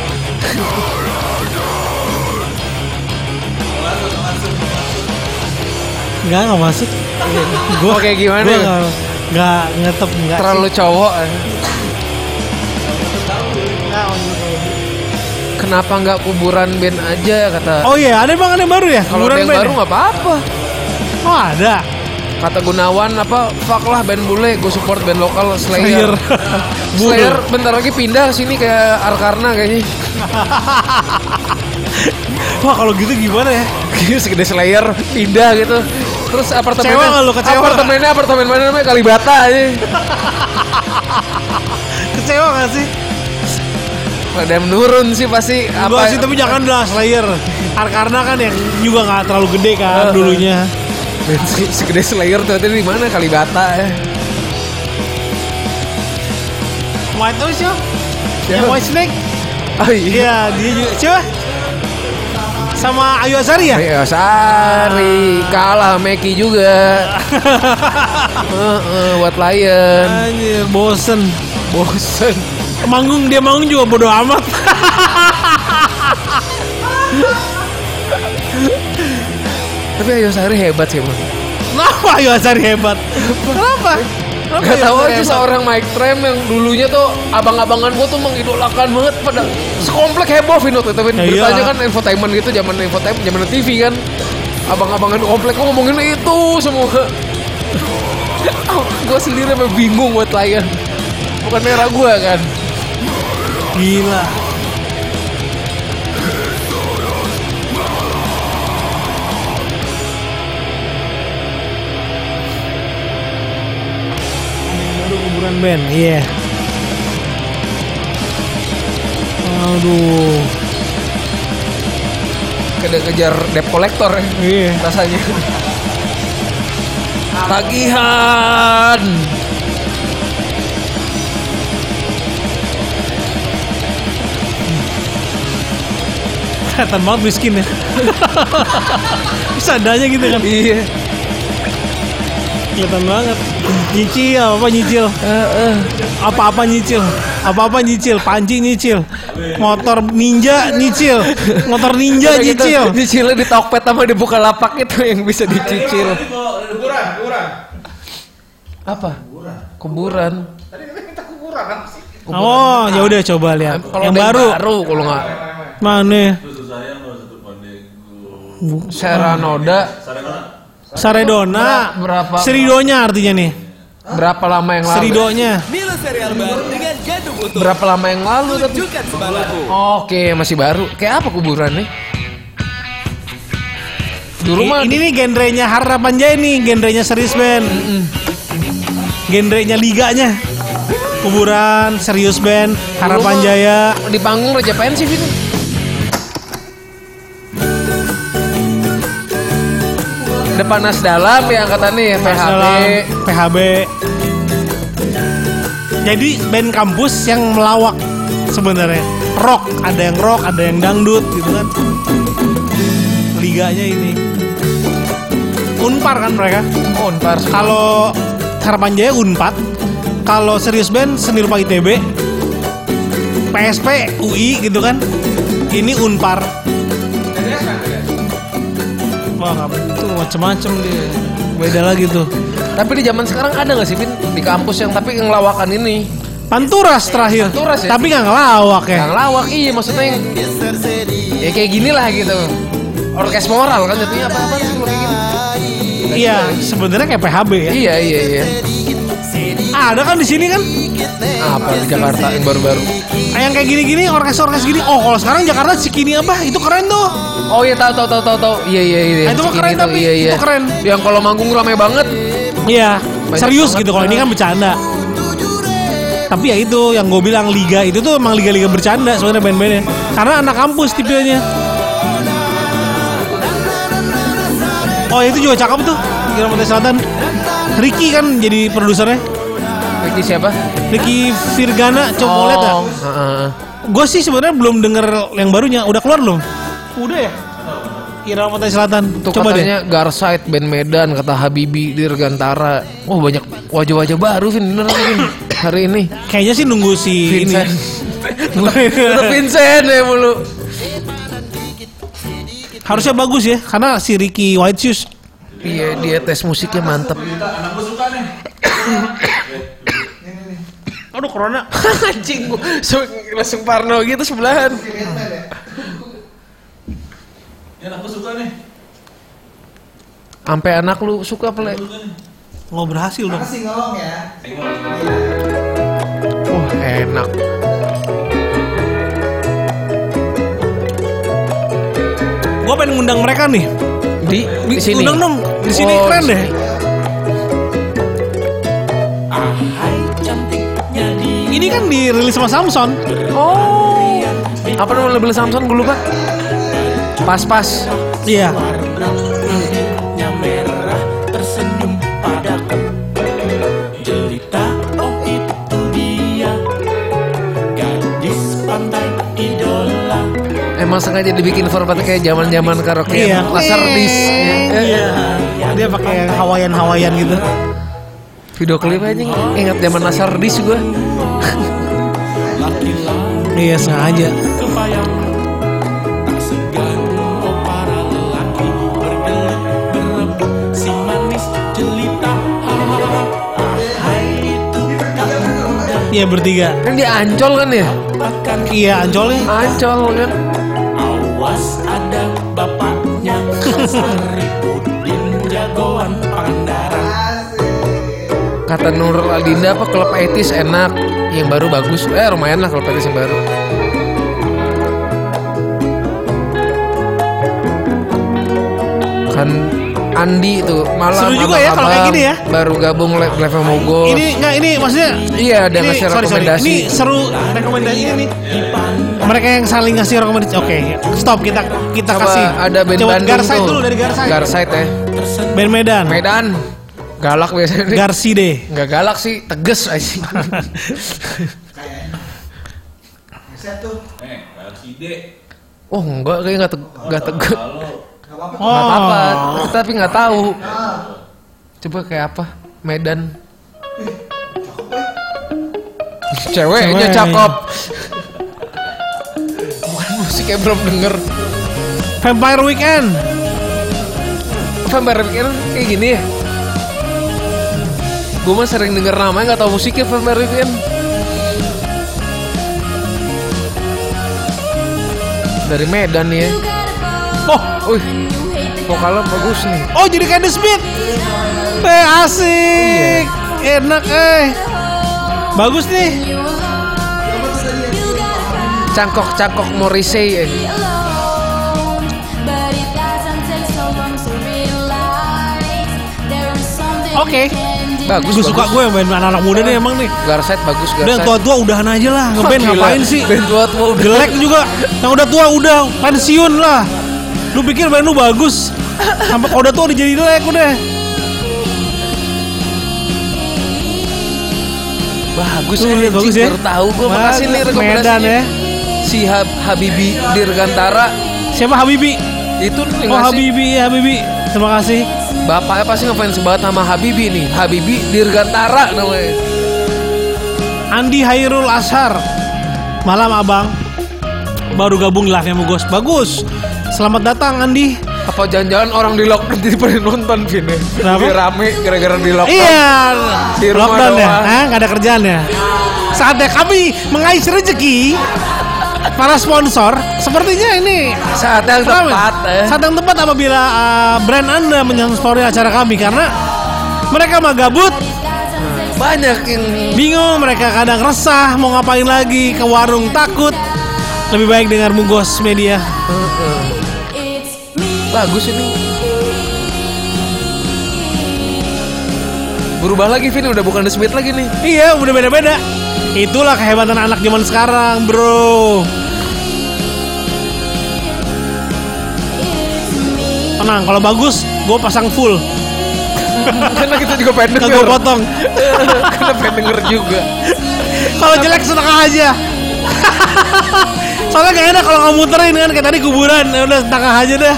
S2: Enggak, enggak masuk. Gua
S1: Oke, gimana?
S2: Gua nggak- nggak ngetep enggak.
S1: terlalu cowok eh. kenapa nggak kuburan band aja kata
S2: Oh iya, ada bang ada yang baru ya?
S1: kalau ada
S2: Kuburan
S1: yang
S2: band
S1: baru
S2: ya?
S1: nggak apa-apa
S2: Oh ada.
S1: kata Gunawan apa fuck lah band bule gue support band lokal
S2: Player.
S1: Slayer Slayer bentar lagi pindah sini ke Arkarna kayaknya
S2: Wah kalau gitu gimana ya?
S1: Gila segede Iya, Slayer pindah gitu terus apartemennya
S2: Kecewa nggak lu? Kecewa
S1: apartemennya apartemen mana namanya Kalibata aja
S2: Kecewa gak sih?
S1: ada yang menurun sih pasti
S2: Gua sih tapi jangan lah Slayer. Arkarna kan yang juga nggak terlalu gede
S1: Heeh.
S2: kan dulunya.
S1: Band se- segede Slayer ternyata di mana Kalibata ya
S2: White Owl siapa?
S1: Siapa?
S2: Yang White Snake?
S1: oh iya
S2: Iya dia juga. Siapa? Sama Ayu Azari ya?
S1: Ayo Sari kalah Meki juga Heeh, buat Lion
S2: Anjir bosen.
S1: bosen
S2: Manggung dia manggung juga bodo amat.
S1: tapi Ayo Sari hebat sih emang
S2: Kenapa Ayu Azari hebat? Kenapa? Kenapa
S1: Gak
S2: Ayu
S1: tahu
S2: Azari
S1: aja
S2: hebat?
S1: seorang Mike Tram yang dulunya tuh abang-abangan gua tuh mengidolakan banget pada sekomplek heboh Vino tuh tapi
S2: Ya
S1: beritanya
S2: iyalah.
S1: kan infotainment gitu zaman infotainment zaman TV kan abang-abangan komplek gua ngomongin itu semua gue sendiri sampai bingung buat layan bukan merah gua kan
S2: Gila. Aduh kuburan band, iya. Aduh,
S1: Kena ngejar debt collector ya,
S2: iya.
S1: rasanya tagihan
S2: Kelihatan banget miskin ya. Bisa adanya gitu kan.
S1: iya
S2: Kelihatan banget. Nyicil, apa nyicil?
S1: Eh,
S2: Apa-apa nyicil. Apa-apa nyicil, panci nyicil. Motor ninja nyicil. Motor ninja
S1: Kayak gitu,
S2: nyicil.
S1: Nyicilnya di Tokped sama di Bukalapak itu yang bisa dicicil. Kuburan, kuburan. Apa? Kuburan.
S2: Oh, ya udah coba lihat.
S1: Kalau
S2: yang
S1: ada
S2: baru.
S1: baru kalau nggak
S2: Mana?
S1: Seranoda
S2: Saredona.
S1: Berapa?
S2: Seridonya artinya nih.
S1: berapa lama yang lalu?
S2: Seridonya.
S8: Milo serial baru dengan gandum utuh.
S1: Berapa lama yang lalu tapi?
S8: Tunjukkan sembalanmu.
S1: Oke, masih baru. Kayak apa kuburan nih? Dulu mah
S2: Ini nih genrenya harapan jaya nih, genrenya serius band. Genrenya liganya. Kuburan, serius band,
S1: Dulu mah
S2: harapan jaya.
S1: di panggung Raja Pensif itu. Depan nas dalam ya angkatannya ya PHB.
S2: Dalam PHB. Jadi band kampus yang melawak sebenarnya. Rock, ada yang rock, ada yang dangdut gitu kan. Liganya ini. Unpar kan mereka.
S1: Unpar.
S2: Kalau Harapan Jaya Unpad, kalau serius band seni rupa ITB, PSP, UI gitu kan. Ini Unpar. Wah, nggak betul macem-macem dia. Beda lagi tuh.
S1: Tapi di zaman sekarang ada nggak sih Vin di kampus yang tapi ngelawakan ini?
S2: Panturas terakhir.
S1: Panturas ya?
S2: Tapi nggak ngelawak ya.
S1: Yang lawak iya maksudnya yang ya kayak gini lah gitu. Orkes moral kan jatuhnya apa apa sih kalau kayak gini.
S2: Iya, sebenarnya kayak PHB ya.
S1: Iya iya iya.
S2: Ada kan di sini kan?
S1: Apa di Jakarta yang baru-baru?
S2: Yang kayak gini-gini, orkes-orkes gini. Oh, kalau sekarang Jakarta Cikini apa? Itu keren tuh.
S1: Oh iya tahu tahu tahu tahu tahu. Iya iya iya.
S2: Nah, itu mah
S1: Cikini
S2: keren
S1: tuh,
S2: tapi,
S1: iya, iya.
S2: itu keren.
S1: Yang kalau manggung ramai banget.
S2: Iya,
S1: Banyak
S2: serius
S1: banget.
S2: gitu kalau ini kan bercanda. Tapi ya itu yang gue bilang liga itu tuh emang liga-liga bercanda sebenarnya band-bandnya. Karena anak kampus tipenya. Oh itu juga cakep tuh Kira Pantai Selatan Ricky kan jadi produsernya
S1: Ricky siapa?
S2: Ricky Virgana ya? Coba
S1: Oh,
S2: lihat gak?
S1: heeh.
S2: Gue sih sebenarnya belum denger yang barunya Udah keluar belum? Udah ya? Kira Pantai Selatan
S1: Tuh
S2: Coba deh
S1: katanya Garside band Medan kata Habibi Dirgantara. Oh banyak wajah-wajah baru Vin bener Vin hari ini.
S2: Kayaknya sih nunggu si ini ya.
S1: Vincent. Tetep Vincent ya mulu.
S2: Harusnya bagus ya Karena si Ricky White Shoes
S1: Iya dia tes musiknya mantep.
S2: Aduh corona
S1: Anjing gua se- langsung Parno gitu sebelahan. Sampai anak lu suka pele.
S2: Nggak berhasil dong
S1: Wah enak.
S2: Gue pengen ngundang mereka nih
S1: Di di sini.
S2: Ngundang dong Di sini
S1: Oh,
S2: keren
S1: di
S2: deh Ini kan dirilis sama Samson
S1: Oh. Apa namanya label Samson gue lupa. Pas-pas.
S2: Iya
S8: Nya merah tersenyum padaku Jelita oh itu dia Gadis pantai idola
S1: Emang sengaja dibikin format kayak zaman-zaman karaoke
S2: Iya.
S1: laser disc. ya.
S2: Iya Dia pakai Hawaiian-Hawaiian gitu
S1: Video klip aja ingat zaman laser disc gue.
S2: Iya sengaja
S8: Kepayang tak segan Oh para lelaki bergelut berebut Si manis jelita Ahai itu tak mudah
S2: Iya bertiga
S1: Kan dia ancol kan ya?
S8: Bahkan
S2: Iya ancolnya
S1: Ancol kan.
S8: Awas ada bapaknya Saripudin jagoan
S2: Oh.
S8: Pangandaran
S1: Kata Nur Aldinda apa klub etis enak yang baru bagus. Eh lumayan lah klub etis yang baru. Kan Andi itu malam
S2: Seru juga
S1: Abang
S2: ya kalau kayak
S1: Abang
S2: gini ya.
S1: baru gabung Le- Level Mogo.
S2: Ini nggak ini maksudnya
S1: Iya ada
S2: ini,
S1: ngasih
S2: sorry, sorry.
S1: rekomendasi.
S2: Ini seru rekomendasi ini. Mereka yang saling ngasih rekomendasi. Oke, stop kita kita
S1: Coba
S2: kasih.
S1: ada band
S2: Coba
S1: Bandung
S2: Garside
S1: tuh.
S2: dulu dari Garside.
S1: Garside ya.
S2: band Medan.
S1: Medan. Galak biasanya.
S2: Garside.
S1: Nggak galak sih, tegas aja. Oh enggak, kayaknya nggak teg- nggak tegak. Nggak apa-apa,
S2: Oh.
S1: tapi nggak tahu. Coba kayak apa? Medan. Ceweknya
S2: Cewek.
S1: cakep. Bukan musiknya belum denger.
S2: Vampire Weekend.
S1: Vampire Weekend kayak gini ya. Gue mah sering denger namanya nggak tahu musiknya Vampire Weekend. Dari Medan nih ya.
S2: Oh,
S1: Wih, vokalnya bagus nih.
S2: oh jadi kayak The Smith. Eh asik. Enak eh. Bagus nih.
S1: Cangkok-cangkok Morrissey. eh.
S2: Oke.
S1: Bagus,
S2: Gue suka gue main anak-anak muda nih emang nih.
S1: Garset bagus,
S2: Udah
S1: Garset.
S2: tua-tua udahan aja lah ngeband
S1: Gila,
S2: ngapain sih? ya.
S1: band tua tua udah.
S2: Jelek juga. Yang udah tua udah pensiun lah. Lu pikir band lu bagus. Sampai kalau udah tua udah jadi jelek udah.
S1: Bagus,
S2: Tuh,
S1: eh,
S2: bagus
S1: anjing,
S2: ya.
S1: Baru tahu gue makasih nih rekomendasinya.
S2: Medan ya.
S1: Si Hab- Habibi Dirgantara
S2: Siapa Habibi?
S1: itu nih
S2: Oh
S1: ngasih-
S2: Habibi, ya Habibi. Terima kasih.
S1: Bapaknya pasti ngefans banget sama Habibi nih. Habibi Dirgantara namanya.
S2: Andi Hairul Ashar. Malam Abang. Baru gabung live yang Mugos. Bagus. Selamat datang Andi.
S1: Apa jangan-jangan orang di lockdown jadi pada nonton Vin ya?
S2: Kenapa?
S1: Jadi rame gara-gara di lockdown.
S2: Iya.
S1: Di rumah
S2: Lockdown ya.
S1: doang.
S2: Hah, nggak ada kerjaan ya. Saatnya kami mengais rezeki para sponsor. Sepertinya ini
S1: Saat yang
S2: Kenapa?
S1: tepat. eh.
S2: Saat yang tepat apabila uh, brand Anda menyponsori acara kami karena mereka mah gabut,
S1: Banyak yang
S2: bingung, mereka kadang resah mau ngapain lagi, ke warung takut. Lebih baik dengar Mugos Media.
S1: bagus ini. Berubah lagi Vin udah bukan The Smith lagi nih.
S2: Iya, udah beda-beda. Itulah kehebatan anak zaman sekarang, bro. Tenang, kalau bagus, gue pasang full,
S1: Karena kita juga pengen
S2: gak gue
S1: denger.
S2: potong.
S1: Karena pengen denger juga.
S2: Kalau jelek setengah aja. Soalnya gak enak kalau nggak muterin kan kayak tadi kuburan, ya udah setengah aja deh.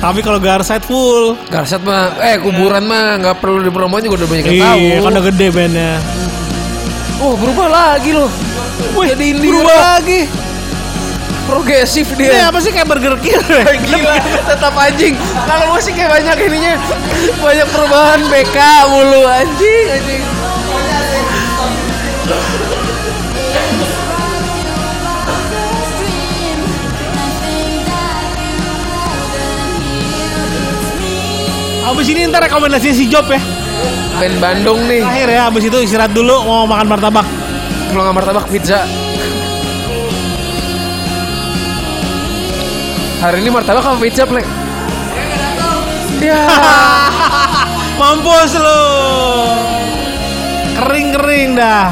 S2: Tapi kalau Garside full,
S1: Garsat mah, eh kuburan mah nggak perlu dipromoin juga udah banyak yang tahu.
S2: iya, kan udah gede bandnya.
S1: Oh berubah lagi loh.
S2: Wih,
S1: Jadi indie
S2: berubah lagi.
S1: Progresif dia.
S2: Ini apa sih kayak Burger King? ya?
S1: Gila, tetap anjing. Kalau musik kayak banyak ininya, banyak perubahan BK mulu anjing, anjing.
S2: Abis ini ntar rekomendasinya si Job ya.
S1: Band Bandung nih,
S2: Terakhir ya, abis itu istirahat dulu mau makan martabak.
S1: kalau nggak martabak pizza. Hari ini martabak sama pizza, Plek. Ya,
S2: Mampus lu. Kering-kering dah.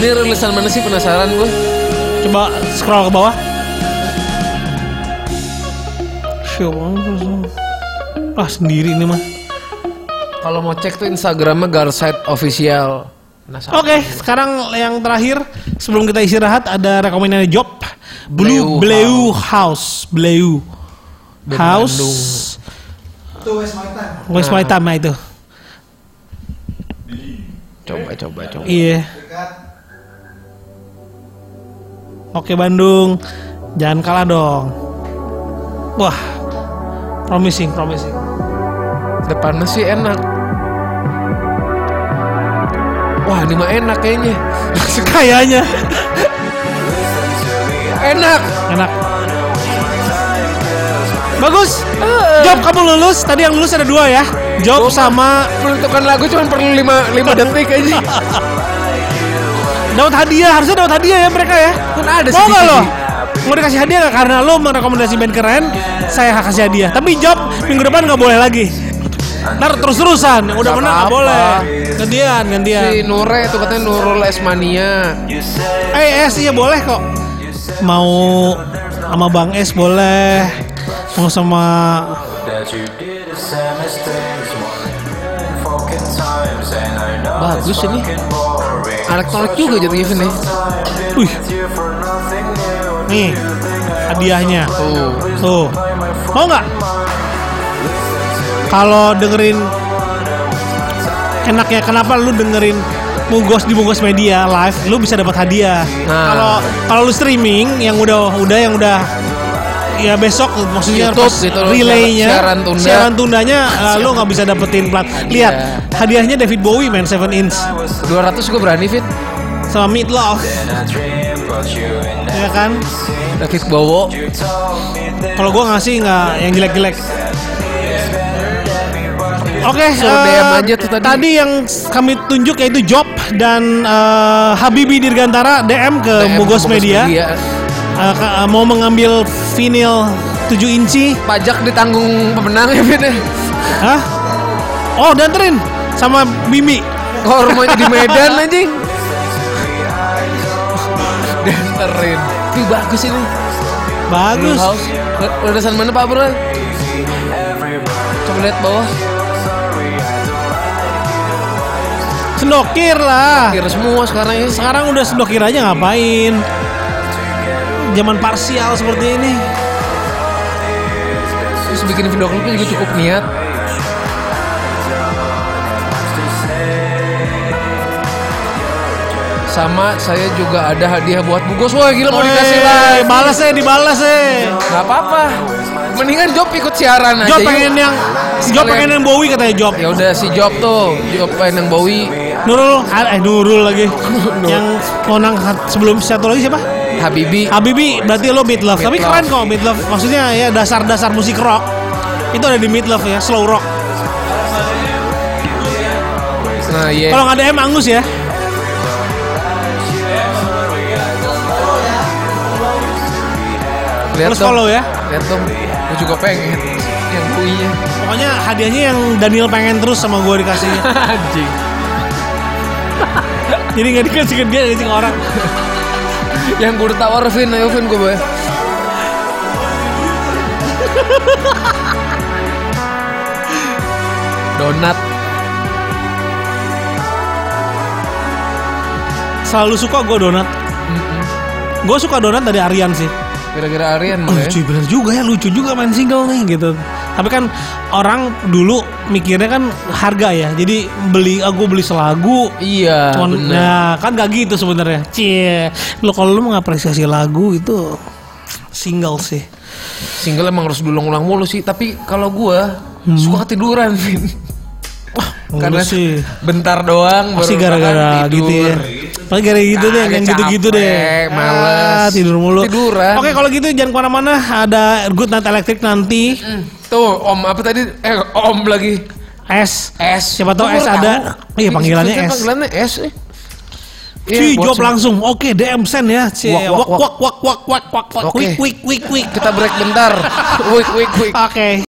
S1: ini rilisan mana sih penasaran gue?
S2: Coba scroll ke bawah. Siapa? Ah sendiri ini mah.
S1: Kalau mau cek tuh Instagramnya Garside Official. Penasaran.
S2: Oke, sekarang yang terakhir sebelum kita istirahat ada rekomendasi job
S1: Bleu
S2: Blue Bleu House, Bleu
S1: Band
S2: House.
S1: Bandung.
S2: Itu West Maritime. nah itu.
S1: Coba, coba, coba.
S2: Iya. Oke Bandung, jangan kalah dong. Wah, promising, promising.
S1: Depannya sih enak. Wah, ini mah enak kayaknya.
S2: Kayaknya
S1: Ya, Enak.
S2: enak. Bagus. Job kamu lulus. Tadi yang lulus ada dua ya. Job sama
S1: Peruntukan lagu cuma perlu 5 5 detik aja.
S2: dapat hadiah. Harusnya dapat hadiah ya mereka ya.
S1: Kan ada
S2: Mau nggak lo?
S1: sedikit.
S2: Mau dikasih hadiah nggak? Karena lo merekomendasi band keren, saya kasih hadiah. Tapi job minggu depan nggak boleh lagi. Ntar terus-terusan, yang udah
S1: Nggak
S2: menang nggak
S1: apa-apa.
S2: boleh. Gantian, gantian.
S1: Si Nure tuh katanya Nurul Esmania.
S2: Eh, S iya boleh kok. Mau sama Bang S boleh. Mau sama
S1: Bagus ini. Elektronik juga jadinya Vin ya.
S2: Wih. Nih, hadiahnya.
S1: Tuh.
S2: Tuh. Mau nggak? Kalau dengerin enak ya kenapa lu dengerin Mugos di Mugos Media live, lu bisa dapat hadiah.
S1: Nah.
S2: Kalau kalau lu streaming yang udah udah yang udah ya besok maksudnya
S1: YouTube
S2: pas
S1: gitu,
S2: relaynya
S1: siaran tunda.
S2: siaran tundanya uh, lu nggak bisa dapetin plat. Lihat hadiahnya David Bowie man 7 inch
S1: 200 gue berani Vin.
S2: sama Meatloaf. Ya kan?
S1: David Bowo.
S2: Kalau gua ngasih nggak yang jelek-jelek. Oke,
S1: Suruh
S2: eh,
S1: DM aja tuh tadi.
S2: yang kami tunjuk yaitu Job dan eh, Habibi Dirgantara DM ke
S1: DM,
S2: Mugos Media.
S1: Media.
S2: Eh, ka- eh, mau mengambil vinyl 7 inci.
S1: Pajak ditanggung pemenang ya Vin ya.
S2: Hah? Oh, danterin sama Mimi.
S1: Kok rumahnya di Medan anjing. Denterin. Ih bagus ini.
S2: Bagus.
S1: House. Ledasan mana Pak Bro? Coba lihat bawah.
S2: Sendokir lah.
S1: Kira semua sekarang ya.
S2: Sekarang udah sendokir aja ngapain? Zaman parsial seperti ini.
S1: Terus bikin video klipnya juga cukup niat. Sama saya juga ada hadiah buat Bugos. Wah gila mau dikasih
S2: Wey,
S1: lah.
S2: Balas eh, dibalas eh.
S1: Gak apa-apa. Mendingan Job ikut siaran aja.
S2: Job
S1: yuk.
S2: pengen yang Iya. Job pengen yang Bowie katanya Job.
S1: Ya udah si Job tuh, Job pengen yang Bowie,
S2: Nurul, eh Nurul lagi. yang konang sebelum satu lagi siapa?
S1: Habibi.
S2: Habibi berarti lo mid love. Tapi
S1: Meat
S2: keren kok mid love. Maksudnya ya dasar-dasar musik rock itu ada di mid love ya, slow rock.
S1: Nah, iya.
S2: Kalau nggak ada M Angus ya.
S1: Lihat
S2: terus
S1: dong.
S2: follow ya.
S1: Lihat dong. Gue juga pengen yang Bowie-nya.
S2: Pokoknya hadiahnya yang Daniel pengen terus sama gue dikasihnya.
S1: Anjing.
S2: Jadi nggak dikasih ke dia, dikasih ke orang.
S1: Yang gue udah tawar Vin, ayo Vin gue bayar. Donat.
S2: Selalu suka gue donat. Gue suka donat dari Aryan sih.
S1: Kira-kira Aryan
S2: Oh,
S1: mah ya.
S2: lucu bener juga ya, lucu juga main single nih gitu. Tapi kan orang dulu mikirnya kan harga ya. Jadi beli aku beli selagu,
S1: Iya.
S2: Cuman,
S1: bener.
S2: nah, kan gak gitu sebenarnya. Cie, lo kalau lo mengapresiasi lagu itu single sih.
S1: Single emang harus diulang-ulang mulu sih, tapi kalau gue
S2: Hmm.
S1: suka ketiduran Vin.
S2: Karena sih
S1: bentar doang
S2: pasti
S1: baru
S2: gara-gara
S1: makan,
S2: gitu
S1: tidur.
S2: ya. Paling gara-gara gitu deh,
S1: Kagak
S2: yang gitu-gitu deh.
S1: capek, males.
S2: Ah, tidur mulu.
S1: Tiduran.
S2: Oke, kalau gitu jangan kemana-mana. Ada Good Night Electric nanti.
S1: Tuh, Om apa tadi? Eh, Om lagi.
S2: S.
S1: S.
S2: Siapa tahu
S1: Gua
S2: S
S1: baru
S2: ada.
S1: tahu.
S2: Iya, panggilannya
S1: Maksudnya
S2: S.
S1: Panggilannya S. eh. Iya,
S2: Cuy,
S1: buat
S2: jawab
S1: semua.
S2: langsung. Oke, DM send ya. Cie,
S1: Wak, wak,
S2: wak wak wak wak wak wak wak.
S1: Oke.
S2: Wik wik wik wik.
S1: Kita break bentar. Wik wik wik.
S2: Oke.